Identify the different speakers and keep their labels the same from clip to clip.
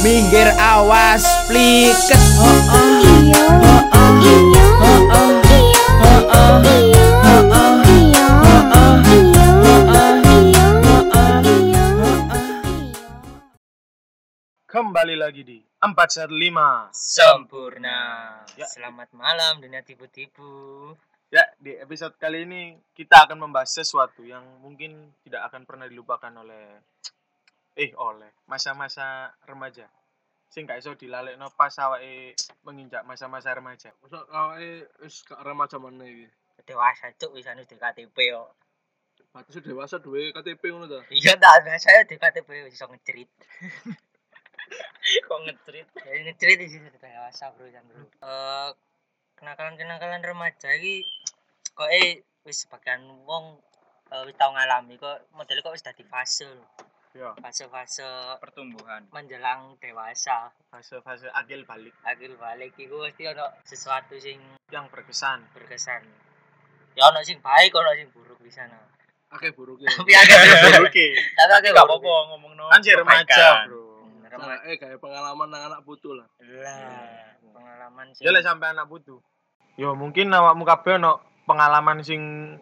Speaker 1: minggir awas pliket oh oh
Speaker 2: Iya, iya, iya, iya, iya, iya, iya.
Speaker 3: Kembali lagi di 415.
Speaker 4: sempurna.
Speaker 3: Ya.
Speaker 4: Selamat malam dunia tipu-tipu.
Speaker 3: Ya, di episode kali ini kita akan membahas sesuatu yang mungkin tidak akan pernah dilupakan oleh eh oleh masa-masa remaja. Sing gak iso dilalekno pas awake menginjak masa-masa remaja.
Speaker 5: Masa awake wis gak remaja mana iki?
Speaker 4: Dewasa cuk wis anu di KTP yo.
Speaker 5: Batas dewasa duwe KTP ngono ta.
Speaker 4: Iya tak biasa di KTP wis iso ngecerit. Kok ngecerit? Ya ngecerit di situ dewasa bro kan bro. Eh kenakalan-kenakalan remaja iki kok eh wis sebagian wong eh, wis tau ngalami kok modelnya kok wis dadi fase lho.
Speaker 3: Yo,
Speaker 4: fase-fase
Speaker 6: pertumbuhan
Speaker 4: menjelang dewasa
Speaker 3: fase-fase akil balik
Speaker 4: akhir balik iku mesti ono sesuatu sing
Speaker 3: yang berkesan.
Speaker 4: berkesan ya ono sing baik ono sing buruk di sana
Speaker 5: Akeh buruke.
Speaker 4: tapi ada
Speaker 3: Oke.
Speaker 4: tapi ada
Speaker 6: nggak apa-apa ngomong no
Speaker 3: Anjir
Speaker 4: Oh
Speaker 3: remaja, Bro.
Speaker 4: lah
Speaker 5: Eh kayak pengalaman nang anak putu lah.
Speaker 4: pengalaman sih
Speaker 3: Ya lek sampe anak butuh. Yo mungkin awakmu kabeh ono pengalaman sing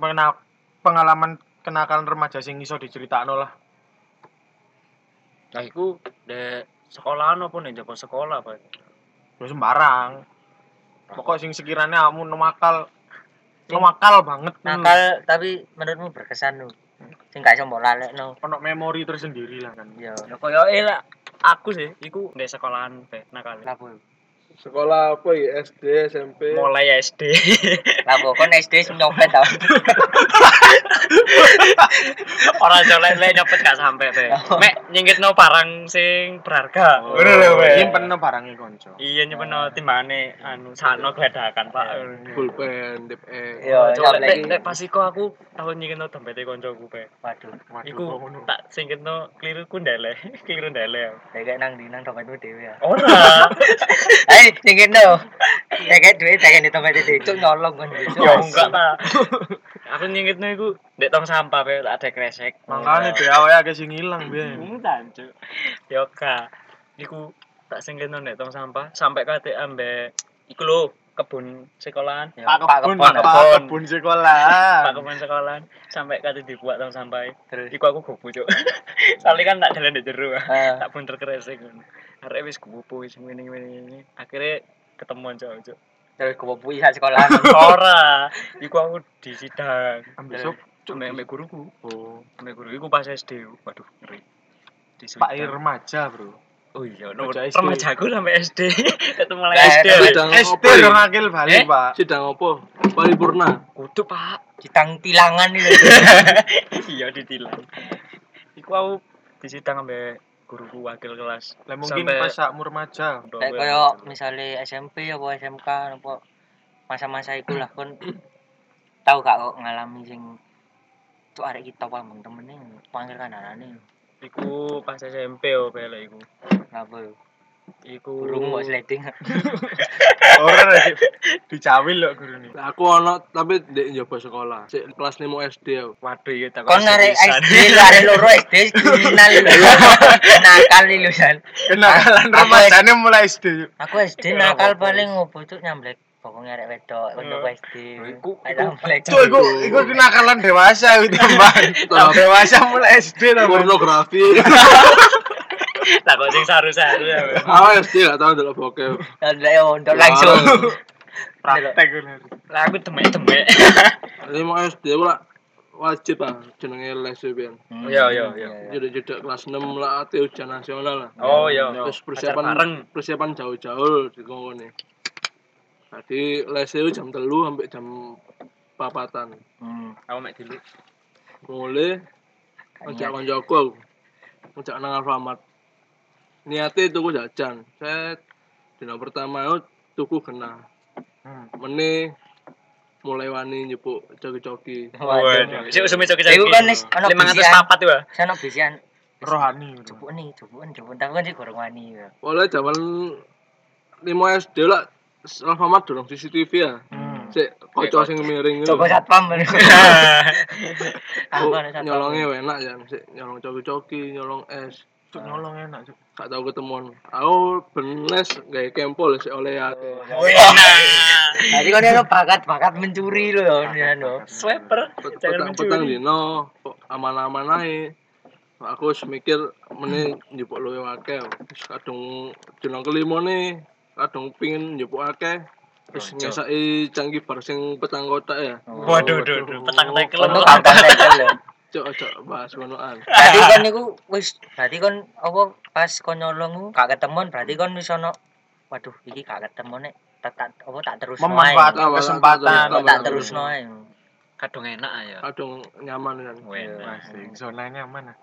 Speaker 3: mena- pengalaman kenakalan remaja sing iso diceritakno lah.
Speaker 6: nah iku de sekolahan apa nih joko sekolah pak
Speaker 3: Yo sembarang. Pokok sing sekiranya kamu nemakal nemakal banget Hmm.
Speaker 4: nakal tapi menurutmu berkesan lu sing gak iso mbok lalekno
Speaker 3: ono memori tersendiri lah kan.
Speaker 4: ya
Speaker 6: ya koyo eh lah aku sih iku de sekolahan pe nakal
Speaker 4: lapo
Speaker 5: Sekolah apa ya? SD, SMP.
Speaker 6: mulai SD
Speaker 4: lapo kon SD sing nyopet tau
Speaker 6: orang colek lek nyopet gak sampe pe mek nyinggit no parang sing berharga
Speaker 3: Nyimpen no barangnya konco.
Speaker 6: iya nyimpen no timbane anu sakno gledakan pak
Speaker 5: Pulpen, DPE.
Speaker 4: ya
Speaker 6: Colek
Speaker 4: nyopet Oh, iki.
Speaker 6: lek Oh, lek pas iku aku tau nyinggit no dompete koncoku pe
Speaker 4: waduh
Speaker 3: Waduh, kok
Speaker 6: iku
Speaker 3: ngono.
Speaker 6: tak singgit no keliru ku ndele keliru ndele
Speaker 4: lek kayak nang dinang dompetmu dhewe ya
Speaker 6: ora
Speaker 4: ayo sing kene lek kayak duit tak kene dompet dhewe cuk nyolong kon iki, cuk.
Speaker 6: Ya enggak lah. Aku nyingkitno iku ndek tong sampah pe tak ada kresek.
Speaker 3: Makanya dia wae agak sing hilang biyen.
Speaker 6: Mungkin cuk. Ya ka. Iku tak singkitno ndek tong sampah sampai kate ambek iku lho kebun sekolahan.
Speaker 4: Ya,
Speaker 3: Pak kebun,
Speaker 6: Pak
Speaker 3: Pak
Speaker 6: Kebun.
Speaker 3: kebun
Speaker 6: Pak
Speaker 3: sekolah.
Speaker 6: kebun sekolahan sampai kate dibuat tong sampah.
Speaker 4: Terus.
Speaker 6: Iku aku gobu cuk. Soale kan tak dalan ndek jero.
Speaker 4: Eh.
Speaker 6: Tak bunter kresek ngono. Arek wis gobu wis ngene-ngene. Akhire ketemuan cuk cuk.
Speaker 4: terus gue puisi saat sekolah
Speaker 6: Ora, iku aku di sidang.
Speaker 3: Ambil sop.
Speaker 6: Ambek ambek guruku.
Speaker 3: Oh,
Speaker 6: Nek guru iku pas SD. Waduh, ngeri.
Speaker 3: Pak
Speaker 6: Disuitan.
Speaker 3: Ir remaja, Bro.
Speaker 6: Oh iya, no,
Speaker 3: Bocah SD.
Speaker 6: remaja aku sampai SD. Tetep mulai
Speaker 4: Lah,
Speaker 6: SD.
Speaker 4: SD.
Speaker 5: Sidang
Speaker 3: SD
Speaker 5: apa? ya?
Speaker 3: dong akil balik,
Speaker 6: Eh?
Speaker 3: Pak.
Speaker 5: Sidang apa? Paripurna.
Speaker 6: Kudu, Pak.
Speaker 4: ditang tilangan nih
Speaker 6: iya ditilang. Iku aku disidang ambek guruku wakil kelas.
Speaker 3: Lah mungkin pas
Speaker 6: Sampai-
Speaker 3: sakmu remaja.
Speaker 4: kayak koyo misale SMP apa SMK apa masa-masa iku lah kon tau gak kok ngalami sing tuh arek kita pambeng temennya panggil kan anane
Speaker 6: Iku pas SMP oh bela iku.
Speaker 4: kenapa yo
Speaker 6: Iku
Speaker 4: burung kok sliding
Speaker 3: Ora sih. Dicawil lho gurune.
Speaker 5: Nah, Aku ono tapi ndek njobo sekolah. Sik kelas 5 SD aku.
Speaker 6: Waduh, iya tak
Speaker 4: kon
Speaker 6: kasih
Speaker 4: arek
Speaker 6: pisan.
Speaker 4: SD lah, arek loro SD kriminal lho nakal lho san
Speaker 3: Kenakalan
Speaker 4: Apa-
Speaker 3: remajane mulai SD.
Speaker 4: aku SD nakal paling ngopo cuk nyamblek bokong arek wedok wedok SD
Speaker 6: Iku-
Speaker 4: Arek
Speaker 6: iku-
Speaker 4: nyamblek
Speaker 3: Cuk, iku iku
Speaker 6: Oh.
Speaker 3: kenakalan dewasa itu tambahan.
Speaker 6: Iya.
Speaker 5: Tambah.
Speaker 3: dewasa mulai SD tambahan.
Speaker 5: Pornografi.
Speaker 6: Tak kok sing saru-saru ya. Bel.
Speaker 5: Awal SD gak tau ndelok bokep. Ya,
Speaker 4: Ndelok yo oh, ndok langsung
Speaker 3: Praktek ngono.
Speaker 6: Lah aku demek-demek.
Speaker 5: 5 SD pula wajib ah jenenge les ben.
Speaker 6: Iya, iya, iya.
Speaker 5: Jeda-jeda kelas 6 lah ate ujian nasional lah.
Speaker 6: Oh iya.
Speaker 5: Nah, Terus
Speaker 6: Ajar
Speaker 5: persiapan
Speaker 6: bareng.
Speaker 5: persiapan jauh-jauh di nih. Tadi les itu jam telu sampai jam papatan.
Speaker 4: Hmm,
Speaker 6: Aku mek dulu.
Speaker 5: Mulai ngejak konjoku aku. Ngejak nang Alfamart. Niatnya tuku jajan. Saya dina pertama itu tuku kena.
Speaker 3: Hmm.
Speaker 5: Mene mulai wani nyepuk joki-joki.
Speaker 4: Waduh.
Speaker 6: Sik usum cok
Speaker 4: Iku kan wis ana
Speaker 6: 504 ya.
Speaker 4: Sono bisian
Speaker 3: Rohani. ngono.
Speaker 4: cupuan nih, cupuan, cupuan. Tapi kan sih gorong wani ya.
Speaker 5: Oleh zaman 5 SD lah Alfamart dorong CCTV ya.
Speaker 3: Hmm.
Speaker 5: Cek kocok sing miring itu.
Speaker 4: Coba satpam. Aku
Speaker 5: Aku
Speaker 4: ada satpam.
Speaker 5: nyolongnya enak ya, mesti nyolong coki-coki, nyolong es.
Speaker 3: Cuk nyolong enak cuk.
Speaker 5: gak tau ketemuan aku benes gak kempol sih oleh ya
Speaker 4: Oh iya. Tadi kan ada bakat bakat mencuri loh, ya no.
Speaker 6: Swiper,
Speaker 5: petang
Speaker 6: jangan
Speaker 5: petang
Speaker 6: mencuri.
Speaker 5: dino kok aman-aman aja aku wis mikir meneh njupuk luwe akeh Wis kadung dino kelimo nih kadung pingin njupuk akeh terus
Speaker 6: Roncok.
Speaker 5: ngesaki canggih bar sing petang kotak ya
Speaker 6: Oh, Waduh, duh, duh, petang tekel.
Speaker 4: Kono tambah level loh.
Speaker 5: cok cok bahas ngonoan
Speaker 4: Tadi kan niku wis berarti kon apa pas kon nyolong ku gak ketemuan berarti kon wis ono waduh iki gak ketemu nek tak tak apa tak terus
Speaker 3: Memanfaatkan
Speaker 5: Tambah-
Speaker 3: kesempatan.
Speaker 5: tambah-
Speaker 4: tak terus noe.
Speaker 6: Kadung enak ya.
Speaker 5: kadung nyaman kan
Speaker 6: Wena.
Speaker 3: Asik, zonanya mana?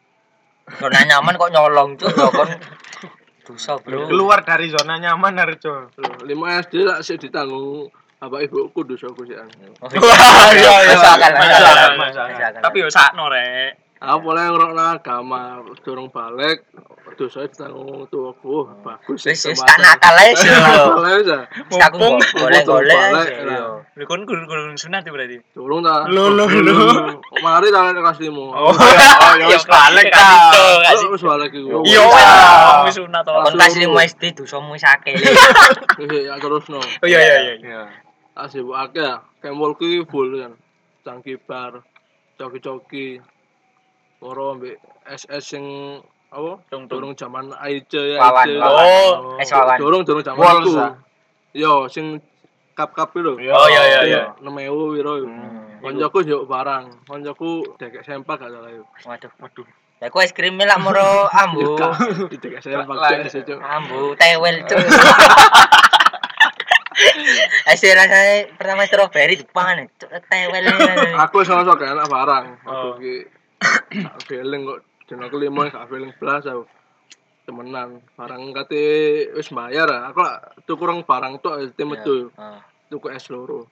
Speaker 4: Zona nyaman kok nyolong cuk ya kon dosa
Speaker 6: Iya.
Speaker 4: bro.
Speaker 3: Keluar dari zona nyaman Arjo.
Speaker 5: Loh, lima SD lah sih ditanggung apa ibuku dosa aku sih An.
Speaker 4: Oh,
Speaker 6: Wah, iya, iya.
Speaker 4: Masuk akal, masuk akal.
Speaker 6: Masuk akal,
Speaker 3: masuk akal.
Speaker 4: Masuk akal.
Speaker 6: Tapi yo sakno rek.
Speaker 5: aku mulai ngerokno agama dorong balik dosa ditanggung tuaku bagus
Speaker 4: wis wis tak nakal ae sih lho.
Speaker 5: Boleh bisa.
Speaker 4: Wis aku
Speaker 6: Mumpung-
Speaker 4: golek-golek
Speaker 5: mumpung
Speaker 4: ae,
Speaker 5: golek,
Speaker 4: lho.
Speaker 5: lah.
Speaker 6: Lho kon guru-guru sunat ya berarti.
Speaker 5: Dorong ta.
Speaker 6: Lho, lho, lho.
Speaker 5: Mari ta lek kasihmu.
Speaker 4: Oh,
Speaker 6: iya,
Speaker 3: ya,
Speaker 6: iya,
Speaker 3: wis balik,
Speaker 6: kasih
Speaker 3: ta.
Speaker 5: gitu,
Speaker 6: to, kasih.
Speaker 5: Wis balik iku.
Speaker 6: gitu. Iya,
Speaker 3: wis,
Speaker 6: wis,
Speaker 3: ta.
Speaker 6: wis sunat to.
Speaker 4: Kon kasih lima SD dosamu wis akeh.
Speaker 5: Wis ya terusno.
Speaker 6: Oh iya iya iya.
Speaker 3: Iya.
Speaker 5: Tas ibu akeh ya. Kemul ki full kan. Cangki bar, coki-coki. Loro ambek SS sing apa?
Speaker 6: Tungtung.
Speaker 5: Dorong zaman IJ ya.
Speaker 4: Wawan,
Speaker 5: IJ.
Speaker 4: wawan.
Speaker 6: Oh.
Speaker 4: Es wawan.
Speaker 5: Dorong dorong zaman
Speaker 3: Walls,
Speaker 5: iku.
Speaker 3: ah.
Speaker 5: Yo sing kap-kap itu.
Speaker 6: Oh iya iya iya.
Speaker 5: Iya, 6000 piro. Koncoku njuk barang, koncoku dekek sempak gak salah yo.
Speaker 4: Waduh, waduh. Lah kok es krimnya lah moro ambu.
Speaker 5: Dekek sempak
Speaker 3: Lah,
Speaker 5: guys, yo, Cuk.
Speaker 4: Ambu tewel cuy. Es rasanya pertama strawberry dipangan cuk tewel.
Speaker 5: Aku sama-sama gak enak barang. Aku
Speaker 6: Oh.
Speaker 5: ki gak feeling kok dino kelima gak feeling blas aku. Temenan, barang kate wis bayar ah. Aku lah tuku rong barang tok ya, tim metu,
Speaker 4: Ah,
Speaker 5: tuku es loro.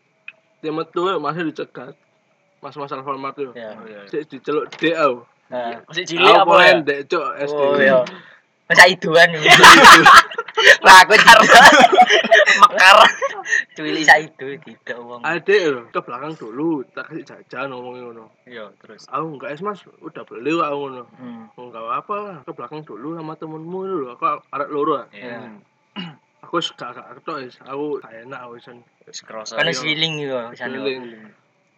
Speaker 5: Tim metu masih dicegat. Mas-mas Alfamart yo.
Speaker 4: Iya.
Speaker 5: Sik diceluk dek aku.
Speaker 4: ah.
Speaker 6: Nah, Masih cilik
Speaker 5: Iya. Aku
Speaker 6: apa ya?
Speaker 5: polen dek cok SD.
Speaker 4: Oh iya. Masa iduan ya. Lah aku jar. Mekar. Cuili sak idu tidak wong.
Speaker 5: Adek lho, ke belakang dulu, tak kasih jajan ngomongin ngono.
Speaker 6: Iya, terus.
Speaker 5: Aku enggak es mas, udah beli kok aku ngono.
Speaker 4: Hmm.
Speaker 5: Enggak apa lah, ke belakang dulu sama temenmu itu lho, aku arek loro ah.
Speaker 6: Iya.
Speaker 5: Aku wis gak gak ketok wis, aku gak enak aku wis.
Speaker 6: Wis kerasa.
Speaker 4: Kan
Speaker 5: Iya.
Speaker 4: feeling yo
Speaker 5: Feeling.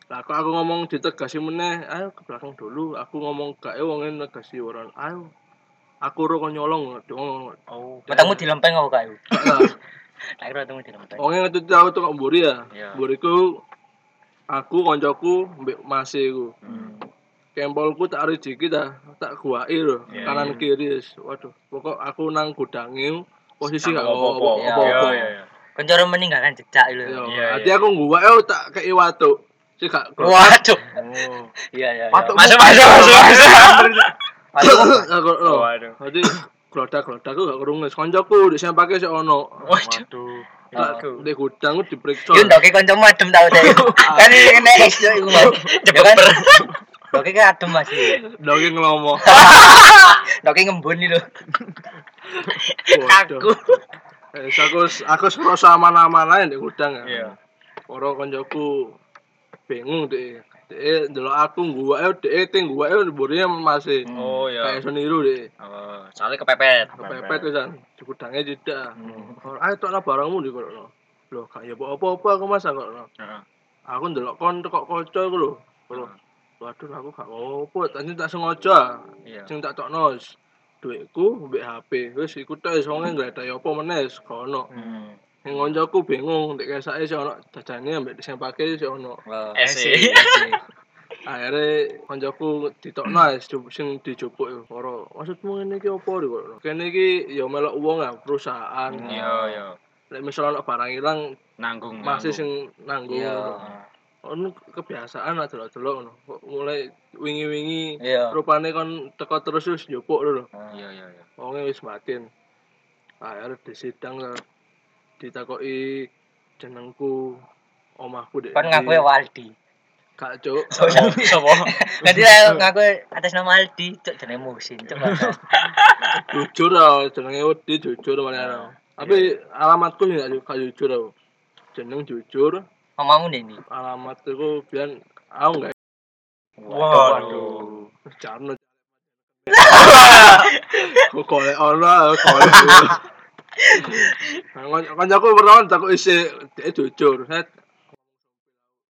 Speaker 5: Lah kok aku ngomong ditegasi meneh, ayo ke belakang dulu, aku ngomong gak e wong e negasi orang. Ayo. Aku ro kon nyolong, dong.
Speaker 6: Oh.
Speaker 4: Matamu dilempeng apa kae? Tak kira matamu dilempeng.
Speaker 5: Wong e ngetuti aku tukang mburi ya.
Speaker 6: Iya.
Speaker 5: Mburiku aku koncoku mbek masiku.
Speaker 4: Hmm.
Speaker 5: kempolku tak arep dikit ah, tak guai lho,
Speaker 6: Iya,
Speaker 5: kanan kiri. wis. Waduh, pokok aku nang gudange posisi gak
Speaker 6: apa-apa.
Speaker 5: apa-apa.
Speaker 4: Iya.
Speaker 6: Iya iya iya.
Speaker 4: Kan cara meninggalkan jejak lho. Iya.
Speaker 6: Iya,
Speaker 5: Yo, ati
Speaker 6: iya.
Speaker 5: aku guwak yo tak kei watu. Sik gak
Speaker 4: Waduh.
Speaker 5: Oh.
Speaker 4: Iya iya.
Speaker 3: Patuk
Speaker 6: Masuk masuk masuk. masuk.
Speaker 5: Aku oh.
Speaker 6: Oh, Waduh.
Speaker 5: Dadi glodak-glodak aku gak kerunges. Koncoku ndek sempake sik ono.
Speaker 6: Waduh.
Speaker 3: Waduh.
Speaker 5: Lah,
Speaker 6: Aku.
Speaker 5: Ndek gudang ku diperiksa.
Speaker 4: Yo ndoke kancamu adem tau teh. Kan ini nek
Speaker 6: Iya,
Speaker 4: iso iku Mas. Ya kan. Ndoke kan adem Mas.
Speaker 5: Ndoki nglomo.
Speaker 4: Ndoke ngembun lho.
Speaker 5: Waduh. Eh, aku aku ngerasa aman-aman aja ndek gudang ya.
Speaker 6: Iya.
Speaker 5: Orang koncoku bingung deh. Deh, dulu aku gua eh deh ting gua eh burinya masih
Speaker 6: Oh
Speaker 5: kayak
Speaker 6: iya.
Speaker 5: seniru deh.
Speaker 6: Oh, soalnya kepepet. Hmm.
Speaker 5: Kepepet kan, gudangnya tidak. Orang ayo tolong barangmu di kono. Loh, kayak apa-apa aku mas aku kono.
Speaker 6: Heeh.
Speaker 5: Aku ndelok kon kok kocok aku lho. Lho, Waduh, aku gak apa, tadi tak sengaja.
Speaker 6: Hmm. Iya.
Speaker 5: Sing tak tokno wis. duitku mbek HP. Wis iku tok wis e wonge ngledek apa meneh wis gak ono.
Speaker 4: Hmm.
Speaker 5: Ning koncoku bingung, ndek kesake sik ono jajane ambek sing pake sik ono.
Speaker 6: Eh, sih.
Speaker 5: akhirnya koncoku ditokno es sing dijupuk yo ora maksudmu ngene iki opo dikono kene iki ya melok wong ah perusahaan
Speaker 6: Iya iya.
Speaker 5: lek misal ana barang ilang
Speaker 6: Nanggung.
Speaker 5: masih
Speaker 6: nanggung.
Speaker 5: sing nanggung
Speaker 4: Iya.
Speaker 5: ngono. ono kebiasaan lah delok-delok ngono Kok mulai wingi-wingi
Speaker 4: Iya.
Speaker 5: rupane kon teko terus wis njupuk lho
Speaker 6: Iya iya iya.
Speaker 5: wonge wis matin akhirnya disidang lah ditakoki jenengku omahku dek ndi.
Speaker 4: Kan ngaku ya Waldi.
Speaker 5: gak cuk
Speaker 6: Sopo?
Speaker 4: Nanti lah ngaku atas nama Aldi, cuk jenenge Musin, cuk. Mas.
Speaker 5: jujur ah jenenge wedi jujur malah aku. tapi alamatku ya gak ju- gak jujur aku jeneng jujur
Speaker 4: Omamu nih ini.
Speaker 5: alamat itu biar aku nggak
Speaker 6: Waduh.
Speaker 5: jarno Kok golek ono, golek. Nah, Kon- Koncoku pertama tak isi dia jujur, set.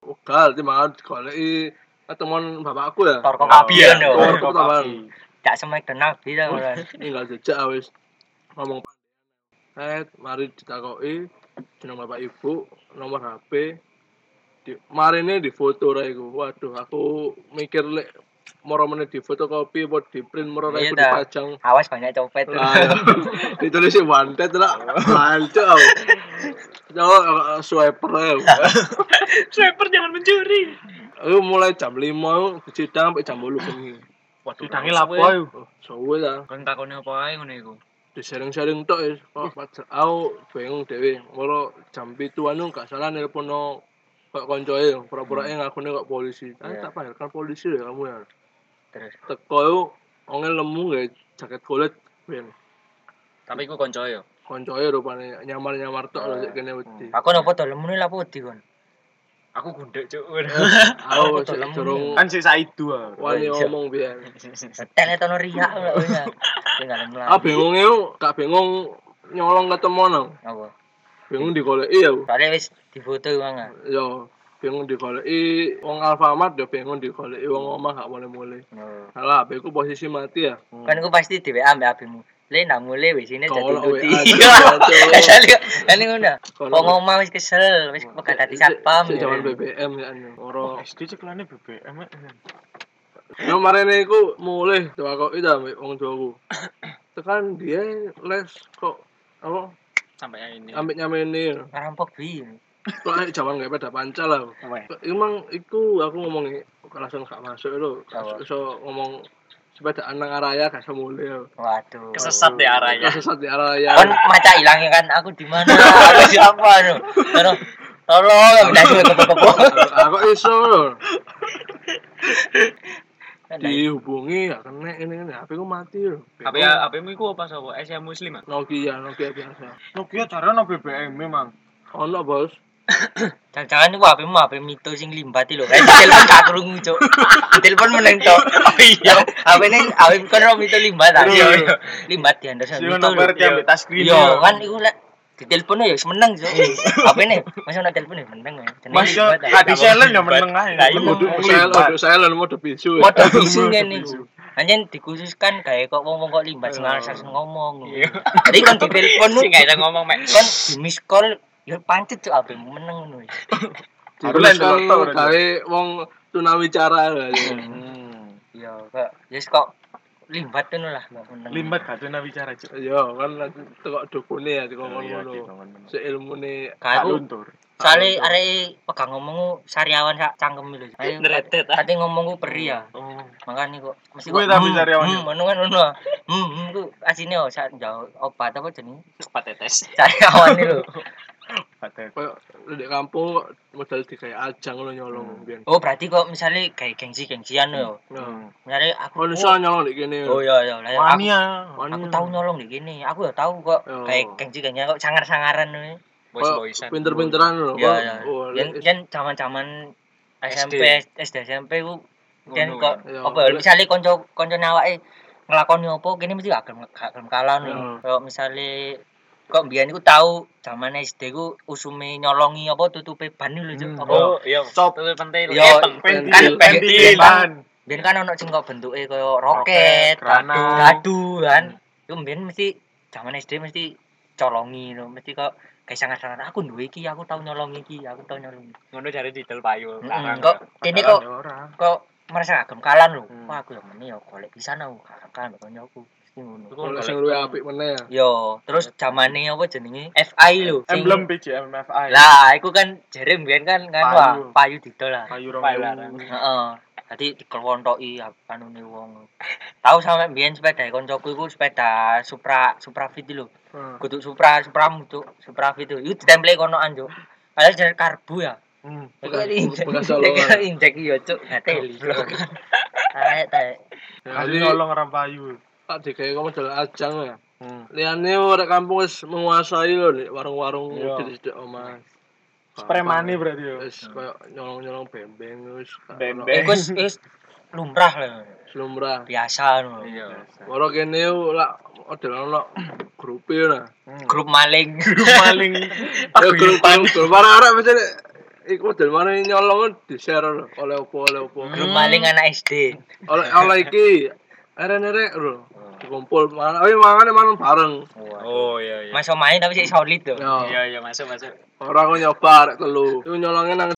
Speaker 5: Ugal timbang goleki ketemuan bapakku ya.
Speaker 4: Torko
Speaker 6: Oh,
Speaker 4: kabi
Speaker 5: iya,
Speaker 4: ya. Nduk.
Speaker 5: Torko kabi.
Speaker 4: Gak semek nabi ta ora.
Speaker 5: Tinggal jejak wis ngomong set mari ditakoki jeneng bapak ibu, nomor HP. Di, marine di foto ra iku. Waduh, aku mikir lek moro meneh di fotokopi apa di print moro ra
Speaker 4: Iya,
Speaker 5: iku
Speaker 4: dah.
Speaker 5: dipajang.
Speaker 4: Awas banyak copet.
Speaker 5: Lah, iya. ditulis sih wanted lah, lanjut aku. Jauh eh, swiper aku.
Speaker 6: Sniper jangan mencuri.
Speaker 5: Aku mulai jam lima, aku sidang sampai jam bolu bengi.
Speaker 6: Waduh,
Speaker 3: Sidangi
Speaker 6: ora
Speaker 3: lapo
Speaker 6: suwe.
Speaker 3: ayo.
Speaker 5: Oh, Suwe lah,
Speaker 6: Kon takone Kan apa ae ngono iku.
Speaker 5: disering-sering tok ya. Kok pacar- aku bingung dewe. Moro jam pitu anu gak salah nelpon no kok koncoe, pura-pura ngaku nih kok polisi. Ah,
Speaker 4: Hmm. Iya.
Speaker 5: tak panggilkan polisi ya kamu ya.
Speaker 4: Terus.
Speaker 5: Teko aku, ongen lemu gak jaket kulit. Ben,
Speaker 6: Tapi iku konco ya. yo.
Speaker 5: koncoe rupanya nyamar-nyamar tok lho, kene wedi.
Speaker 4: Aku nopo dolemmu ni lapo wedi kon.
Speaker 6: Aku gundek cuk. Waduh.
Speaker 5: Aku
Speaker 4: Aku
Speaker 5: sik
Speaker 4: lemu. ya.
Speaker 5: durung
Speaker 3: Kan sisa itu. ah.
Speaker 5: wani
Speaker 6: Iya.
Speaker 5: ngomong biar
Speaker 4: Setel tono riak lho ya.
Speaker 5: ah
Speaker 4: Tinggal mlaku.
Speaker 5: bingung eu gak bingung nyolong ketemu nang
Speaker 4: Apa?
Speaker 5: bingung digoleki ya
Speaker 4: Soale wis difoto wae.
Speaker 5: yo bingung digoleki wong Alfamart yo bingung digoleki wong omah gak boleh mulai
Speaker 4: Oh.
Speaker 5: salah HP ku posisi mati ya
Speaker 4: Kan ku pasti di WA mbak abimu. Le nak mulai wis ini jadi
Speaker 5: Kalau
Speaker 4: luti.
Speaker 5: WA,
Speaker 4: Iya. Kali kan ngono.
Speaker 5: Kalau-
Speaker 4: Wong omah wis kesel, wis pegat dadi satpam.
Speaker 5: Sik jaman BBM ya anu
Speaker 3: Oh,
Speaker 5: ora
Speaker 3: SD ceklane BBM. eh.
Speaker 5: yo marene iku mulai diwakoki ta ambek wong tuaku tekan dia les kok apa
Speaker 6: Sampai yang ini.
Speaker 5: ambek nyamene
Speaker 4: Ngerampok bi.
Speaker 5: kok ae jaman gak pada pancal lah
Speaker 6: Weh.
Speaker 5: Emang iku aku ngomongnya kok langsung gak masuk lho.
Speaker 4: Apa?
Speaker 5: Iso ngomong sepeda anak araya gak semule.
Speaker 4: Waduh.
Speaker 6: Kesesat di ya arahnya.
Speaker 5: Kesesat di ya. araya.
Speaker 4: Kon maca ilangnya kan aku di mana? Aku siapa anu? Tolong tolong blas kepo-kepo.
Speaker 5: Aku iso lho. Dihubungi gak kena ini ini HP ku mati lho.
Speaker 6: HP ya, HP mu iku apa sapa? Asia Muslim ah.
Speaker 5: Nokia, Nokia biasa.
Speaker 3: Nokia cara no BBM memang.
Speaker 5: Ono bos.
Speaker 4: Jangan-jangan itu HP mu HP mito sing limbati lho. Kan telepon gak krungu, Cuk. Telepon meneng tok. Oh iya. HP ini HP kan ro mito limbat ta.
Speaker 3: Iya, iya.
Speaker 4: Limbat di Anderson
Speaker 3: Sio
Speaker 4: mito
Speaker 3: nang
Speaker 4: lho.
Speaker 3: RT ambek tas krini.
Speaker 4: Ya, Iya, kan iku lek ditelepon ya wis meneng, Cuk. HP ini masih ono telepon ya meneng ya. Jenenge
Speaker 3: Mas yo
Speaker 4: limbat ta.
Speaker 3: adi selen yo meneng
Speaker 6: Lah,
Speaker 3: ae.
Speaker 6: iya.
Speaker 3: Mudut
Speaker 5: Saya
Speaker 3: lipat.
Speaker 5: lho, saya lho mau debisu.
Speaker 4: Mode bisu ngene iku. Anjen dikhususkan gawe kok wong-wong kok limbat sing alasan ngomong. lho.
Speaker 6: Iya.
Speaker 4: Jadi kon diteleponmu
Speaker 6: Sing gak iso ngomong mek.
Speaker 4: kan di miss call ya pancet cuk HP mu meneng ngono. wis.
Speaker 5: Terus
Speaker 3: Aku lho,
Speaker 5: kan
Speaker 3: lho.
Speaker 5: gawe wong tunawicara lho.
Speaker 4: Hmm. Ya kok ya wis kok limbat ngono lah kok meneng.
Speaker 3: Limbat gak ada bicara, Cuk.
Speaker 5: Yo kan lagi tekok dukune ya dikongkon
Speaker 3: Iya,
Speaker 5: ngono.
Speaker 3: dikongkon.
Speaker 5: Seilmune
Speaker 4: Gak
Speaker 3: Gak
Speaker 4: aku
Speaker 3: luntur.
Speaker 4: sale arek pegang ngomongku sariawan sak cangkem lho. Ayo,
Speaker 6: Neretet, ah.
Speaker 4: Kate ngomongku peri ya.
Speaker 3: Oh.
Speaker 4: Makane kok mesti
Speaker 3: Kuwi tapi
Speaker 4: hmm,
Speaker 3: sariawan
Speaker 4: Hmm,
Speaker 3: ya?
Speaker 4: ngono kan ngono. Hmm, hmm, ku asine yo sak jauh obat apa jenenge?
Speaker 6: Patetes.
Speaker 4: Sariawan lho.
Speaker 3: Gak ada.
Speaker 5: kayak di kampung kok modal di kayak ajang lo nyolong biyen.
Speaker 4: Oh, berarti kok misalnya kayak gengsi-gengsian yo.
Speaker 5: Nah,
Speaker 4: Misalnya aku
Speaker 5: kalau iso nyolong di kene.
Speaker 4: Hmm. Oh iya iya lah aku
Speaker 3: Hmm. Mania.
Speaker 4: aku tahu nyolong di gini. Aku ya tahu kok
Speaker 5: Oh.
Speaker 4: kayak gengsi-gengsian kok sangar-sangaran ngono.
Speaker 5: Boys
Speaker 6: Boys-boysan.
Speaker 5: Pinter-pinteran lo,
Speaker 4: Ya ya.
Speaker 5: Oh,
Speaker 4: Yen
Speaker 5: lek-
Speaker 4: yen zaman-zaman SMP, SD SMP ku yen
Speaker 6: Ngono,
Speaker 4: kok
Speaker 5: ya.
Speaker 4: apa ya, misale kanca-kancane awake nglakoni apa kene mesti gak gelem gak gelem kalah
Speaker 5: Ya.
Speaker 4: no. Kayak misale kok mbiyen iku tahu zaman SD ku usume nyolongi apa tutupe ban lho Cuk.
Speaker 5: Hmm.
Speaker 4: apa
Speaker 6: Oh, iya.
Speaker 3: Stop.
Speaker 6: Betul pentil.
Speaker 4: Iya.
Speaker 6: Iya.
Speaker 5: Pentil.
Speaker 3: Pentil.
Speaker 4: Pentil.
Speaker 3: Pentil.
Speaker 4: Biyen kan ono sing kok bentuke kaya
Speaker 3: Roket,
Speaker 4: roket,
Speaker 3: kerana.
Speaker 4: radu, radu kan. Iku biyen mesti zaman SD mesti colongi no, mesti kok kayak sangat-sangat aku duwe iki, aku tau nyolong iki, aku tau nyolong. iki."
Speaker 6: Ngono jare didel payu.
Speaker 4: Mm,
Speaker 6: Larang,
Speaker 4: kok
Speaker 6: ya.
Speaker 4: kene kok kok merasa agem kalan lho.
Speaker 3: Hmm.
Speaker 4: Wah, aku yo meneh yo golek pisan aku, gak kalan kok nyoku. Mesti ngono.
Speaker 6: Iku
Speaker 5: kalau
Speaker 6: golek-
Speaker 5: sing luwe apik meneh ya.
Speaker 4: Yo, terus zamane apa jenenge? FI lho. sing-
Speaker 3: Emblem BJMFI.
Speaker 4: Lah, iku kan jere mbiyen kan kan
Speaker 3: Payu.
Speaker 4: wah, payu didol lah.
Speaker 3: Ayu
Speaker 6: Payu
Speaker 3: Romeo.
Speaker 6: larang.
Speaker 4: Heeh. Dadi dikelwontoki anune wong. Tahu sampe mbiyen sepeda koncoku iku sepeda Supra Supra Fit lho.
Speaker 3: Hmm.
Speaker 5: Nah,
Speaker 4: Kudu Supra Supra mutu Supra Fit lho. Iku ditempeli kono anjo. Padahal jenis karbu ya.
Speaker 3: Hmm.
Speaker 5: Bekas-
Speaker 4: Injek-
Speaker 5: bekas colongan.
Speaker 4: Injek- Injek iya cuk, ngateli. Tae tae.
Speaker 3: Kali
Speaker 5: Jadi
Speaker 3: nolong orang payu.
Speaker 5: tak digawe kok modal ajang ya.
Speaker 3: Hmm.
Speaker 5: Liyane ora kampung wis menguasai lho nek warung-warung
Speaker 3: Iya.
Speaker 5: di sithik omah.
Speaker 3: Premane berarti yo.
Speaker 5: Wis Eh, koyo nyolong-nyolong bembeng wis.
Speaker 3: Bembeng.
Speaker 4: Iku wis- wis lumrah lho.
Speaker 5: Slumrah.
Speaker 4: Biasa lho.
Speaker 6: Iya.
Speaker 5: Moro kene yo lak model ono grupe yo nah.
Speaker 4: Grup maling.
Speaker 3: paling
Speaker 5: Yo grup grup arek-arek mesti nek iku model mana yang nyolong di-share lho oleh opo oleh opo.
Speaker 4: Grup maling anak SD.
Speaker 5: Oleh oleh iki arek-arek lho kumpul mana oh mangane mangan bareng.
Speaker 6: Oh iya iya.
Speaker 4: Masuk main tapi sik solid lho.
Speaker 5: Yo
Speaker 6: Iya iya masuk masuk.
Speaker 5: ora kok nyoba arek telu. Iku nyolonge nang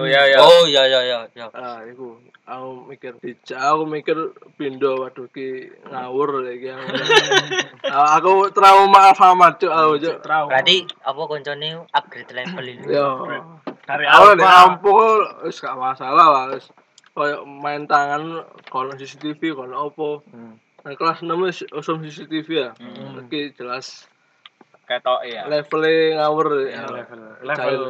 Speaker 6: Oh iya iya.
Speaker 4: Oh iya iya iya iya.
Speaker 5: ah iku aku mikir dijak aku mikir pindo waduh ki ngawur lagi aku Ah, aku trauma sama cuk aku cuk
Speaker 3: trauma
Speaker 4: Berarti apa koncone upgrade level ini.
Speaker 5: yo
Speaker 3: dari
Speaker 5: aku
Speaker 3: awal
Speaker 5: di kampung kok wis gak masalah lah wis koyo main tangan kono CCTV kono opo Nah, kelas 6 wis usum CCTV ya iki jelas
Speaker 6: Ketok ya.
Speaker 5: levelnya ngawur ya.
Speaker 3: level level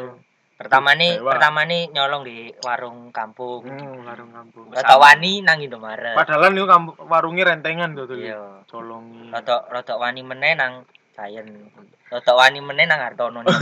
Speaker 4: Pertama nih,
Speaker 3: Dewa.
Speaker 4: pertama nih nyolong di warung kampung.
Speaker 3: hmm, warung kampung
Speaker 4: Rata wani nang Indomaret.
Speaker 3: padahal niku kampung warungnya rentengan tuh tuh
Speaker 4: Iya.
Speaker 3: colongi
Speaker 4: Rotok rotok wani meneh nang Giant. Rotok wani meneh nang Hartono nang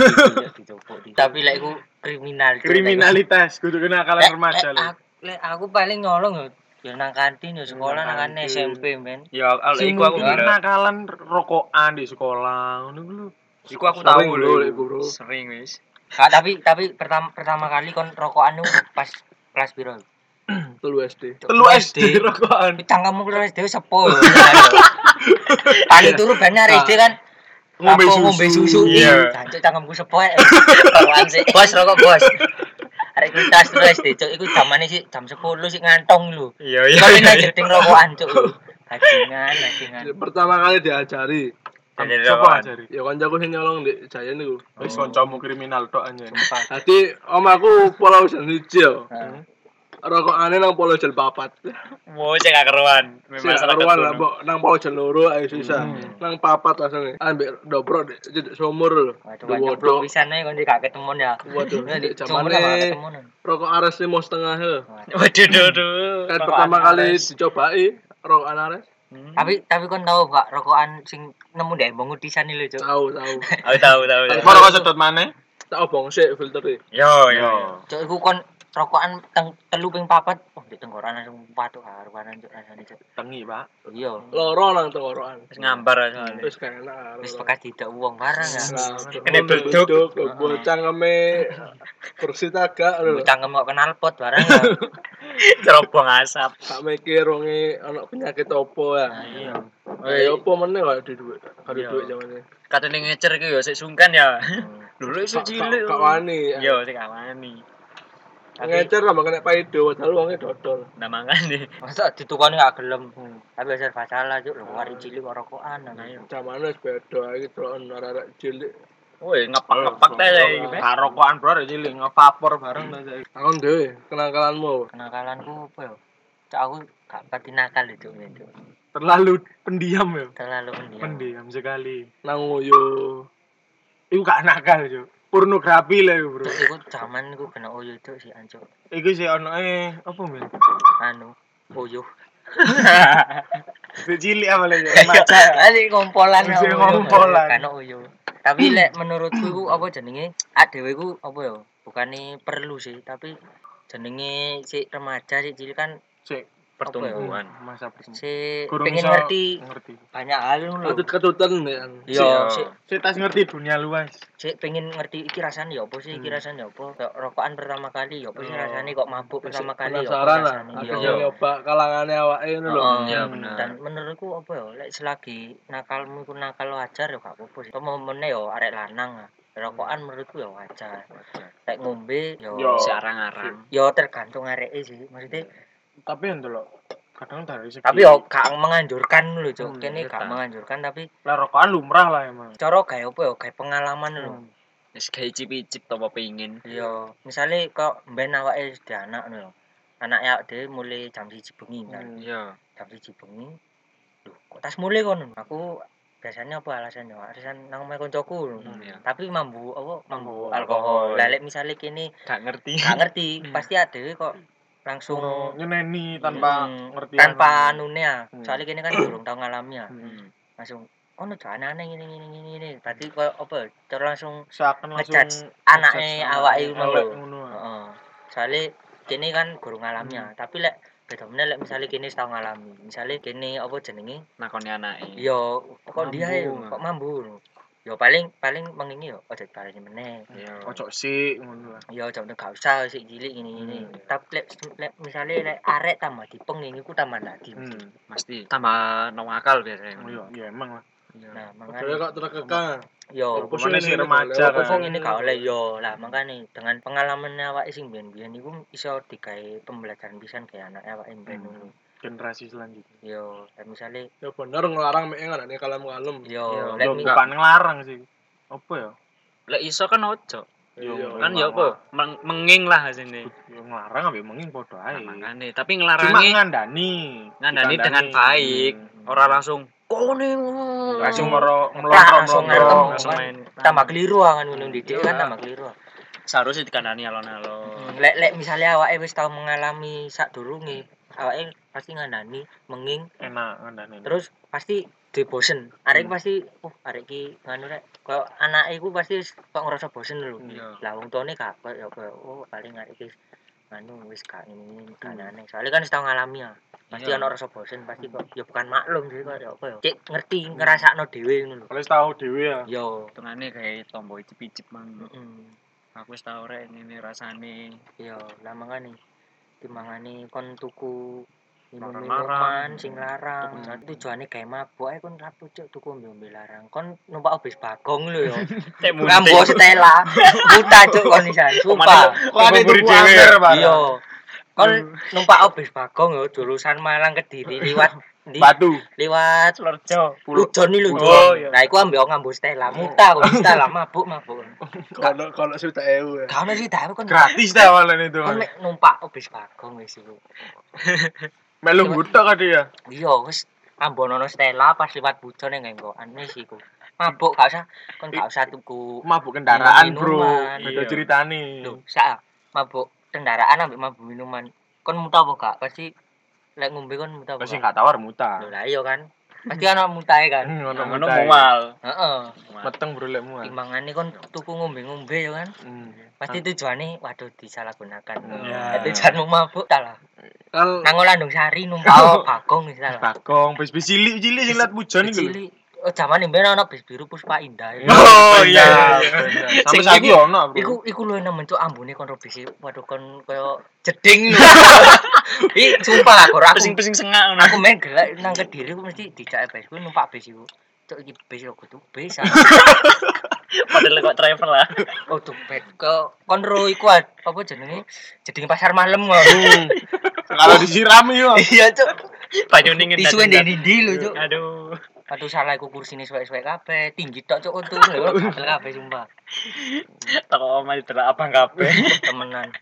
Speaker 4: dicupuk. Tapi lek iku kriminal. Cuk.
Speaker 3: kriminalitas kudu kenakalan
Speaker 6: Eh,
Speaker 4: Lek-
Speaker 3: remaja
Speaker 4: lek
Speaker 3: lho
Speaker 4: eh, aku- Lek aku paling nyolong yo yo nang kantin yo sekolah
Speaker 3: Nang
Speaker 4: nang kan
Speaker 3: kantin.
Speaker 4: SMP men.
Speaker 6: Ya al-
Speaker 3: sing
Speaker 6: iku aku
Speaker 3: mungkin
Speaker 6: bener.
Speaker 3: kenakalan rokokan di sekolah ngono lho
Speaker 6: Iku aku
Speaker 5: Sering
Speaker 6: tahu
Speaker 5: bro,
Speaker 6: lho.
Speaker 5: iku, bro.
Speaker 6: iku. Sering wis.
Speaker 4: Kak, Ah, tapi tapi pertama pertama kali kon rokokan itu pas kelas piro?
Speaker 5: telu SD
Speaker 3: telu SD rokokan
Speaker 4: Pitang kamu kelas SD sepo. yo. Kali turu banyak hari SD kan.
Speaker 3: Ngombe
Speaker 4: Apa,
Speaker 3: susu.
Speaker 4: Ngombe susu.
Speaker 6: Iya.
Speaker 4: Iya. Jancuk cangkemku sepo. eh. Rokokan sih. Bos rokok bos. Arek kuwi kelas telu SD cuk iku zamane sih jam 10 sih ngantong lho.
Speaker 6: Iya iya.
Speaker 4: Kali
Speaker 6: iya,
Speaker 4: nang
Speaker 6: iya.
Speaker 4: jeding rokokan cuk. lho. Bajingan, bajingan.
Speaker 5: pertama kali diajari
Speaker 6: Jadi
Speaker 3: Sopo
Speaker 6: rokokan.
Speaker 3: ngajari
Speaker 5: ya kancaku sing nyolong di Jayan niku
Speaker 3: wis kancamu kriminal tok anjen
Speaker 5: Tadi om aku pola ujian siji yo.
Speaker 4: Heeh.
Speaker 5: Rokok aneh nang pola ujian papat.
Speaker 6: Mau cek gak keruan.
Speaker 5: Sing
Speaker 6: Masyarakat
Speaker 5: karuan lah,
Speaker 6: kuno.
Speaker 5: Mbok. nang pola ujian loro ayo susah.
Speaker 4: Hmm.
Speaker 5: Nang papat langsung e. ambek dobrok dek cedek sumur lho.
Speaker 4: Waduh, waduh,
Speaker 5: Dewodok.
Speaker 4: bisa nih kon gak ketemu ya.
Speaker 5: Waduh,
Speaker 4: Nah,
Speaker 5: nek
Speaker 4: di- sumur lah, gak
Speaker 5: jamane
Speaker 4: ketemu nih.
Speaker 5: rokok ares lima setengah he.
Speaker 6: Waduh duh duh.
Speaker 5: Kan pertama kali dicobai rokok ares.
Speaker 6: Hmm?
Speaker 4: Tapi tapi kon tahu gak rokokan sing nemu deh bangun di sana lho, Cuk.
Speaker 5: Tahu tahu.
Speaker 6: Aku tahu tahu. tahu.
Speaker 3: Kok rokok sedot maneh?
Speaker 5: Tak obong sik filtere.
Speaker 6: Yo yo.
Speaker 4: Cuk, iku kon rokokan teng telu ping papat, oh di tenggoran langsung patuk karuanan Cuk rasane Cuk.
Speaker 3: Tengi, Pak.
Speaker 4: Iya.
Speaker 5: Loro nang tenggorokan.
Speaker 6: Wis Ngambar aja.
Speaker 5: Wis kayak enak. Nah,
Speaker 4: Wis bekas tidak uang barang ya.
Speaker 6: Kene duduk.
Speaker 5: bocang keme kursi tagak lho.
Speaker 4: Bocah kemok kenal pot barang ya.
Speaker 6: Cerobong asap.
Speaker 5: tak mikir wonge ana penyakit opo
Speaker 4: Nah,
Speaker 5: ya.
Speaker 6: Iya.
Speaker 5: Ya opo meneh kok di dhuwit, karo
Speaker 6: Iya.
Speaker 5: dhuwit jamane.
Speaker 6: Katene ngecer iki yo sik sungkan ya. Dulu isuk
Speaker 5: Kak-
Speaker 6: cilik. Iya.
Speaker 5: Kak wani. Ya,
Speaker 6: Yo sik gak wani. Tapi
Speaker 5: Ngecer tambah kena paido, padahal wonge dodol.
Speaker 6: ndak mangan nih.
Speaker 4: Masa ditukoni gak gelem. Tapi asal masalah Cuk, lho wari cilik kok rokokan. nah, iya. Ayo.
Speaker 5: Jamane wis beda iki deloken arek cilik.
Speaker 6: Woi, ngepak-ngepak teh saya iki. Be.
Speaker 3: Gak rokokan, Bro, jadi lek ngevapor bareng ta saya.
Speaker 5: Takon dhewe kenakalanmu. apa?
Speaker 4: Kenakalanku apa ya? Cuk, aku gak pati nakal lho, Cuk. ya, Cuk.
Speaker 3: Terlalu pendiam ya.
Speaker 4: Terlalu
Speaker 6: Iya.
Speaker 4: pendiam.
Speaker 3: Pendiam sekali.
Speaker 5: Nang nguyu.
Speaker 3: Iku gak nakal, Cuk. Pornografi lah iku, Bro.
Speaker 4: Cuk, iku zaman iku kena uyuh cuk si ancuk.
Speaker 3: Iku sih ono eh apa men?
Speaker 4: Anu, uyuh.
Speaker 3: Dek cilik apa lagi?
Speaker 6: Iya.
Speaker 3: Remaja.
Speaker 4: Kali kompolan
Speaker 3: Wis ngompolan.
Speaker 4: Kena uyuh. Tapi lek menurutku iku apa jenenge? Ak dhewe iku apa ya? Bukane perlu sih, tapi jenenge si remaja si cilik kan
Speaker 3: Cek
Speaker 6: Pertumbuhan.
Speaker 3: masa pertumbuhan.
Speaker 4: si
Speaker 3: Gurung
Speaker 4: pengen
Speaker 3: iso
Speaker 4: ngerti
Speaker 3: Ngerti.
Speaker 4: banyak hal lho.
Speaker 5: Atut ketutan ya.
Speaker 4: Hmm. Iya, si
Speaker 3: Saya tas ngerti dunia luas.
Speaker 4: si pengen ngerti iki rasane ya apa sih,
Speaker 5: Hmm.
Speaker 4: iki rasane ya apa? Kayak rokokan pertama kali ya apa sih rasane kok mabuk pertama kali ya apa
Speaker 5: Penasaran lah.
Speaker 4: rasane?
Speaker 5: Aku
Speaker 4: Iya.
Speaker 5: sing nyoba kalangane awake ngono lho.
Speaker 4: Oh,
Speaker 6: Iya, bener.
Speaker 4: Dan menurutku apa ya, lek selagi nakalmu iku nakal wajar ya gak apa-apa sih. Apa meneh ya arek lanang ah. Rokokan menurutku ya wajar. Lek ngombe ya
Speaker 3: Yo.
Speaker 6: Si arang-arang.
Speaker 4: ya tergantung areke sih. Maksudnya
Speaker 3: Tapi yang dulu kadang dari segi
Speaker 4: tapi ya gak menganjurkan lho, Cuk. Kene gak
Speaker 6: menganjurkan.
Speaker 4: menganjurkan tapi
Speaker 3: lah rokokan lumrah lah emang.
Speaker 4: cara gawe apa ya, gawe pengalaman lho.
Speaker 3: Hmm.
Speaker 6: Wis gawe cicip-cicip to apa pengin.
Speaker 4: Yo, misale kok mben awake wis dhewe anak lho. Anak ya dhewe mulai jam 1 bengi kan.
Speaker 6: Iya.
Speaker 4: jam siji bengi lho kok tas mulai kono aku biasanya apa alasannya alasan nang omahe koncoku lho.
Speaker 6: iya.
Speaker 4: tapi mambu apa mambu
Speaker 3: Alkohol.
Speaker 4: alkohol lelek misalnya kini
Speaker 6: Gak ngerti.
Speaker 4: gak ngerti pasti ada kok langsung
Speaker 3: Suruh nyeneni tanpa
Speaker 4: mm,
Speaker 3: ngerti
Speaker 4: tanpa
Speaker 3: anu.
Speaker 4: nune ya
Speaker 3: Hmm.
Speaker 4: soalnya kini kan durung tau ngalami ya
Speaker 3: Hmm.
Speaker 4: langsung oh no jangan aneh gini gini gini gini berarti kok apa cara langsung
Speaker 3: seakan langsung
Speaker 4: Ngejudge anake
Speaker 3: ngejudge
Speaker 4: awake
Speaker 3: anake
Speaker 4: ngono lho.
Speaker 3: ngono. ah.
Speaker 4: heeh soalnya kene kan guru ngalami ya, tapi lek beda meneh lek misale kene wis tau ngalami. Misale kene apa jenenge?
Speaker 6: nakoni anake
Speaker 4: Yo kok dia ya,
Speaker 6: Mambu.
Speaker 4: kok mambu. lho. Yo paling paling mengingi yo aja dibaleni meneh.
Speaker 6: iya
Speaker 3: Ojo sih ngono lah.
Speaker 4: Yo jam gak usah sik cilik ngene-ngene. Tapi lek lek misale lek arek tambah dipeng ngene iku tambah lagi.
Speaker 3: Hmm.
Speaker 6: mesti tambah nang akal biasanya
Speaker 3: Iya, iya emang lah.
Speaker 4: Nah,
Speaker 5: Padahal
Speaker 4: makanya
Speaker 5: kok terkekang.
Speaker 4: yo
Speaker 3: Apa sih ini remaja
Speaker 5: Apa
Speaker 4: Apa
Speaker 5: sih
Speaker 4: sing
Speaker 3: kan?
Speaker 4: ini gak oleh iya. yo lah makanya dengan pengalaman awak sing biyen-biyen iku iso digawe pembelajaran pisan kayak anak awak yang biyen
Speaker 3: Hmm.
Speaker 4: dulu.
Speaker 3: Generasi selanjutnya.
Speaker 4: Yo, dan misalnya
Speaker 5: Ya bener ngelarang mek anaknya kalem-kalem.
Speaker 4: yo,
Speaker 3: Yo
Speaker 4: Oh,
Speaker 6: Lek
Speaker 4: let me
Speaker 6: enggak.
Speaker 3: bukan ngelarang sih. Apa ya?
Speaker 6: lek iso kan ojo
Speaker 3: Yo,
Speaker 5: Iya. Oh,
Speaker 6: kan ya apa meng- menging lah sini
Speaker 3: Yo Ya, ngelarang ambek mengin padha
Speaker 6: nah,
Speaker 3: ae.
Speaker 6: makane tapi
Speaker 3: Cuma
Speaker 6: ngelarangi
Speaker 3: ngandani.
Speaker 6: ngandani dengan
Speaker 3: Dikandani.
Speaker 6: baik
Speaker 3: Hmm.
Speaker 6: ora langsung
Speaker 4: Oh,
Speaker 6: kone ngono."
Speaker 3: langsung mero
Speaker 4: langsung
Speaker 3: melontrok-melontrok.
Speaker 4: ngantong.
Speaker 6: langsung
Speaker 4: kan
Speaker 6: main
Speaker 4: tambah keliru ah, kan ngono
Speaker 6: Yo,
Speaker 4: didik kan
Speaker 6: ah.
Speaker 4: tambah keliru.
Speaker 6: seharusnya dikandani alon-alon
Speaker 4: Lek lek misalnya awake wis tau mengalami sak durunge, awake pasti ngandani menging
Speaker 3: Enak ngandani.
Speaker 4: terus pasti di bosen. Arek
Speaker 3: Hmm.
Speaker 4: pasti oh arek iki nganu rek koyo anake iku pasti wis kok ngerasa bosen lho.
Speaker 3: Hmm,
Speaker 6: Iya.
Speaker 4: Lah wong tuane gak koyo koyo oh paling arek iki anu wis gak ngene
Speaker 3: Hmm.
Speaker 4: gak aneh. Soalnya kan wis tau ngalami ya. Pasti
Speaker 6: Iya.
Speaker 4: ana rasa bosen, pasti kok ya bukan maklum sih kok ya apa ya. Cek ngerti
Speaker 3: Hmm.
Speaker 4: ngrasakno dhewe ngono lho.
Speaker 3: Kalau tahu dhewe ya.
Speaker 4: Yo.
Speaker 6: hitungannya kayak tombol icip-icip mang
Speaker 4: Mm-mm.
Speaker 6: aku wis tau rek ngene rasane
Speaker 4: Iya, lah mangane timangane kon tuku
Speaker 6: Larang-larang.
Speaker 4: minuman sing larang. Tujuane gawe mabok ae kon ra pucuk tuku ombe larang. Kon numpak obes bagong lho yo.
Speaker 6: cek
Speaker 4: Rambo Stella. Buta cuk kon isan, sumpah.
Speaker 3: Kok ada
Speaker 6: Pemburu
Speaker 3: tuku
Speaker 6: dhewe
Speaker 3: amer, Pak?
Speaker 4: Iya. Kon
Speaker 6: Hmm.
Speaker 4: numpak obes bagong yo jurusan Malang Kediri liwat ndi?
Speaker 3: Batu.
Speaker 4: Liwat
Speaker 6: Lorjo
Speaker 4: Lujon iki Lujon.
Speaker 6: Oh, iya.
Speaker 4: Nah, iku ambek Rambo Stella. Muta kon Stella mabuk-mabuk.
Speaker 5: Kalau kalau sudah EU ya.
Speaker 4: Gak ono sih dawe kon
Speaker 3: Gratis dah awalnya itu.
Speaker 4: kon mek numpak obes bagong wis iku.
Speaker 3: Melu buta kan dia.
Speaker 4: iya wis ambonono Stella pas liwat bujon yang nggokan wis iku mabuk gak usah kon gak usah tuku
Speaker 3: Iya, Mabuk kendaraan, Bro.
Speaker 4: Minuman.
Speaker 3: Beda
Speaker 6: Iya.
Speaker 3: ceritane.
Speaker 4: lho sak ah. mabuk kendaraan ambek mabuk minuman kon muta apa gak pasti lek ngombe kon muta apa
Speaker 3: Lah sing
Speaker 4: gak
Speaker 3: gak tawar
Speaker 4: lho
Speaker 3: muta.
Speaker 4: lah iya kan pasti ana mutae kan
Speaker 3: Hmm, Ngono Iya.
Speaker 6: ngono
Speaker 3: muta.
Speaker 6: mual
Speaker 4: heeh
Speaker 3: Meteng Bro lek mual.
Speaker 4: timbangannya kon tuku ngombe-ngombe ya kan
Speaker 3: Hmm.
Speaker 4: pasti tujuannya waduh disalahgunakan
Speaker 3: Ya.
Speaker 4: Eh, tujuanmu mabuk ta lah
Speaker 5: Kan
Speaker 4: nang Landung Sari numpak bagong wis ta lah
Speaker 3: Bagong, bis bis cilik-cilik sing liat bujon iku lho.
Speaker 4: Cilik. Oh, zaman mbiyen ana bis biru puspa indah.
Speaker 6: Oh, iya,
Speaker 3: Bener,
Speaker 6: iya.
Speaker 3: bener.
Speaker 6: Sing
Speaker 3: Sampai saiki
Speaker 6: iku-
Speaker 3: ono, Bro.
Speaker 4: Iku iku luwih nemen cuk ambune kon robisi. Waduh kon koyo jeding lho. Ih, sumpah aku ora aku
Speaker 6: pesing-pesing sengak ngono
Speaker 4: aku main gelek nang Kediri aku mesti dijak bis ku numpak bis iku. Cuk iki bis kok kudu bis. ah.
Speaker 6: padahal kok travel lah
Speaker 4: Oh, dompet ke kon ro iku ah, apa jenenge? Jeding pasar malam ngono.
Speaker 3: Kalau disirami yo.
Speaker 4: Iya, cuk.
Speaker 6: banyu dingin
Speaker 4: Isu
Speaker 6: dan-
Speaker 4: ndek ndi lho, cuk.
Speaker 6: aduh
Speaker 4: Aduh salah iku kursine suwek-suwek kabeh, tinggi tok cuk untung lho, gatel kabeh sumpah.
Speaker 6: toko omah delok abang kabeh
Speaker 4: Temenan.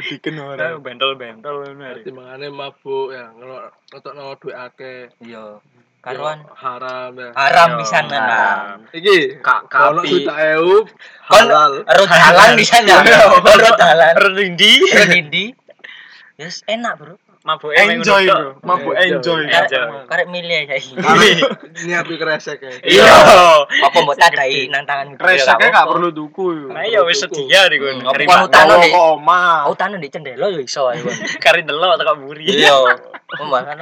Speaker 3: Gediken
Speaker 6: Aduh,
Speaker 3: ora.
Speaker 6: bentol-bentol ngono ya. hari.
Speaker 5: timbangannya mabuk ya. Kalau ngetok no duit akeh.
Speaker 4: Iya.
Speaker 5: ya
Speaker 4: Karuan
Speaker 5: haram ya.
Speaker 4: haram
Speaker 6: Yo,
Speaker 4: pisan
Speaker 6: haram.
Speaker 4: nah.
Speaker 5: Iki
Speaker 6: Kak-
Speaker 5: kalau
Speaker 6: kapi.
Speaker 5: sudah EU
Speaker 4: Kon
Speaker 5: halal.
Speaker 4: road dalan di sana. Kon road dalan.
Speaker 6: Rendindi
Speaker 4: Road indi. Yes, enak, Bro.
Speaker 6: mabuke mek ngono
Speaker 3: Enjoy,
Speaker 6: tok.
Speaker 3: Bro. Mabuk enjoy. Iya,
Speaker 4: Karek
Speaker 6: Enjoy.
Speaker 4: karek milih aja iki.
Speaker 5: Niat iki kresek ya.
Speaker 6: Iya.
Speaker 4: Apa mbok tadai nang tanganmu dhewe
Speaker 3: Kreseknya
Speaker 4: gak
Speaker 3: gak
Speaker 4: apa-apa.
Speaker 3: perlu tuku yo.
Speaker 6: Nah iya wis
Speaker 5: Tuku.
Speaker 6: sedia di
Speaker 4: Hmm,
Speaker 6: kono. Kari
Speaker 4: apa
Speaker 6: bak-
Speaker 4: hutan?
Speaker 3: Tahu
Speaker 4: Tanu di-
Speaker 3: kok omah.
Speaker 4: Oh, tanu di cendela yo iso ae. Bang.
Speaker 6: kari delok teko mburi.
Speaker 4: Iya. Pembangan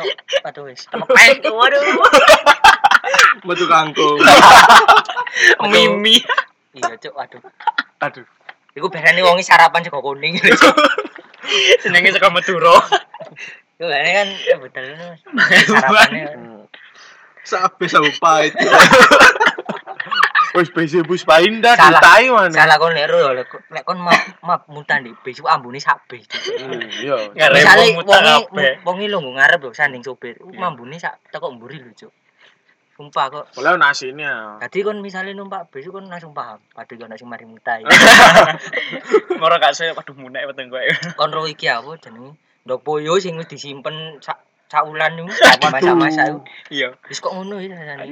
Speaker 4: aduh wis. Lepek waduh.
Speaker 5: Metu kangkung.
Speaker 6: Mimi.
Speaker 4: Iya, Cuk, aduh.
Speaker 3: Aduh.
Speaker 4: Iku biasanya wongi sarapan sego kuning.
Speaker 6: Senenge saka Madura.
Speaker 4: Iku biasanya kan ya betul Mas. sarapannya.
Speaker 5: Sabe sabu pahit.
Speaker 3: Wis BC bus paindah
Speaker 4: Salah.
Speaker 3: ditai mana.
Speaker 4: Salah kon lek ro lek lek kon map map mutan di bis iku ambune sak bis. Cuk.
Speaker 3: Hmm, Iya.
Speaker 6: Ngarep
Speaker 4: Misale
Speaker 6: muter
Speaker 4: wongi
Speaker 6: kabeh.
Speaker 4: wongi lungguh ngarep lho sanding sopir. Iku mambune sak tekok mburi lho, Cuk. Sumpah kok.
Speaker 3: Boleh nasine. ya.
Speaker 4: Dadi kon misale numpak bis kon langsung paham. Waduh yo ana sing mari mutai.
Speaker 6: Moro gak saya waduh munek weteng kowe.
Speaker 4: kon ro iki apa jenenge? Ndok boyo sing wis disimpen sak saulan niku sak masa-masa iku.
Speaker 6: Iya.
Speaker 4: Wis kok ngono iki rasane.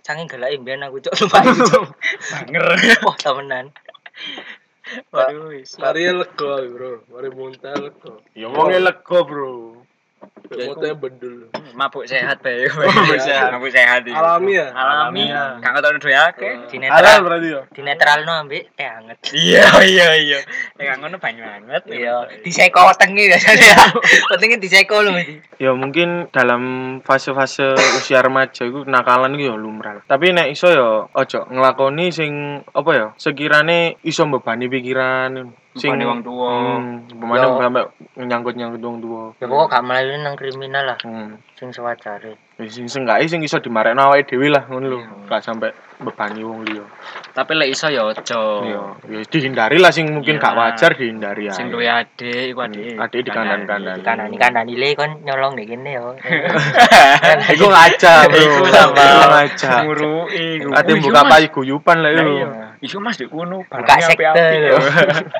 Speaker 4: Sange gelake mbiyen aku cuk numpak iku, Cuk.
Speaker 6: Banger.
Speaker 4: Wah, temenan.
Speaker 6: Waduh wis.
Speaker 5: Mari lego bro. Mari muntah lego.
Speaker 3: Iya, Ya wonge lega, Bro.
Speaker 6: Ya, iku-
Speaker 5: Mutanya bendul.
Speaker 6: mabuk sehat bae.
Speaker 3: Mabuk sehat.
Speaker 6: Mabuk sehat iki.
Speaker 5: Alami ya?
Speaker 6: Alami.
Speaker 3: Alami.
Speaker 6: Gak ngono duwe akeh.
Speaker 4: di
Speaker 3: Halal
Speaker 4: netral
Speaker 3: berarti ya.
Speaker 4: di netral no ambek teh anget
Speaker 6: Iya iya iya. Nek gak ngono banyu anget.
Speaker 4: iya di seko wetenge biasanya wetenge di seko lho mesti
Speaker 3: Ya mungkin dalam fase-fase usia remaja itu kenakalan itu ya lumrah. Tapi nek iso ya ojo nglakoni sing apa ya sekirane iso membebani pikiran sing
Speaker 6: Mbebani wong tuwa.
Speaker 3: Hmm, umpamane
Speaker 4: Yo.
Speaker 3: sampe nyangkut-nyangkut wong tuwa.
Speaker 4: ya pokok gak melayu nang kriminal lah
Speaker 3: Hmm.
Speaker 4: sing sewajare
Speaker 3: Ya, sing senggae sing iso dimarekno awake dhewe lah ngono lho.
Speaker 6: Iya.
Speaker 3: Gak sampe membebani wong liya.
Speaker 6: Tapi lek iso ya aja.
Speaker 3: Ya, ya dihindari lah sing mungkin
Speaker 6: Iya.
Speaker 3: gak wajar dihindari ya.
Speaker 6: Sing duwe adik iku adik.
Speaker 3: Hmm, adik dikandani-kandani.
Speaker 4: di kanan kanan nilai kon nyolong deh gini yo
Speaker 3: Iku ngaca, Bro.
Speaker 6: Iku sama
Speaker 3: Iku ngaca.
Speaker 6: Ngurui iku.
Speaker 3: Ate
Speaker 6: Oh, iya,
Speaker 3: buka
Speaker 6: Mas.
Speaker 3: payu guyupan lah
Speaker 6: Lah
Speaker 3: itu.
Speaker 6: iya. Iso Mas di kono
Speaker 4: buka
Speaker 6: barangnya
Speaker 4: sekte
Speaker 6: apik-apik.
Speaker 4: lho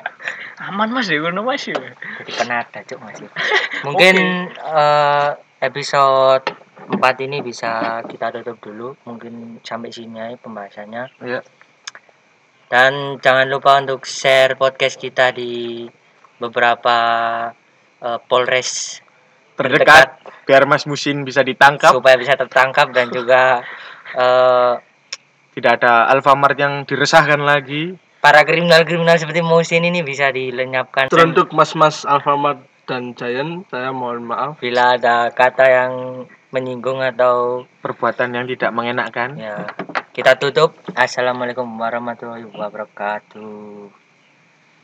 Speaker 6: Aman Mas di kono Mas.
Speaker 4: jadi penada cuk masih mungkin eh, episode 4 ini bisa kita tutup dulu mungkin sampai sini aja pembahasannya
Speaker 3: Iya.
Speaker 4: dan jangan lupa untuk share podcast kita di beberapa eh, polres
Speaker 3: Terdekat biar Mas Musin bisa ditangkap.
Speaker 4: supaya bisa tertangkap dan juga eh,
Speaker 3: tidak ada Alfamart yang diresahkan lagi.
Speaker 4: para kriminal-kriminal seperti Musin ini bisa dilenyapkan
Speaker 5: Teruntuk mas-mas Alfamart dan Giant, saya mohon maaf.
Speaker 4: bila ada kata yang menyinggung atau
Speaker 3: Perbuatan yang tidak mengenakkan.
Speaker 4: ya kita tutup assalamualaikum warahmatullahi wabarakatuh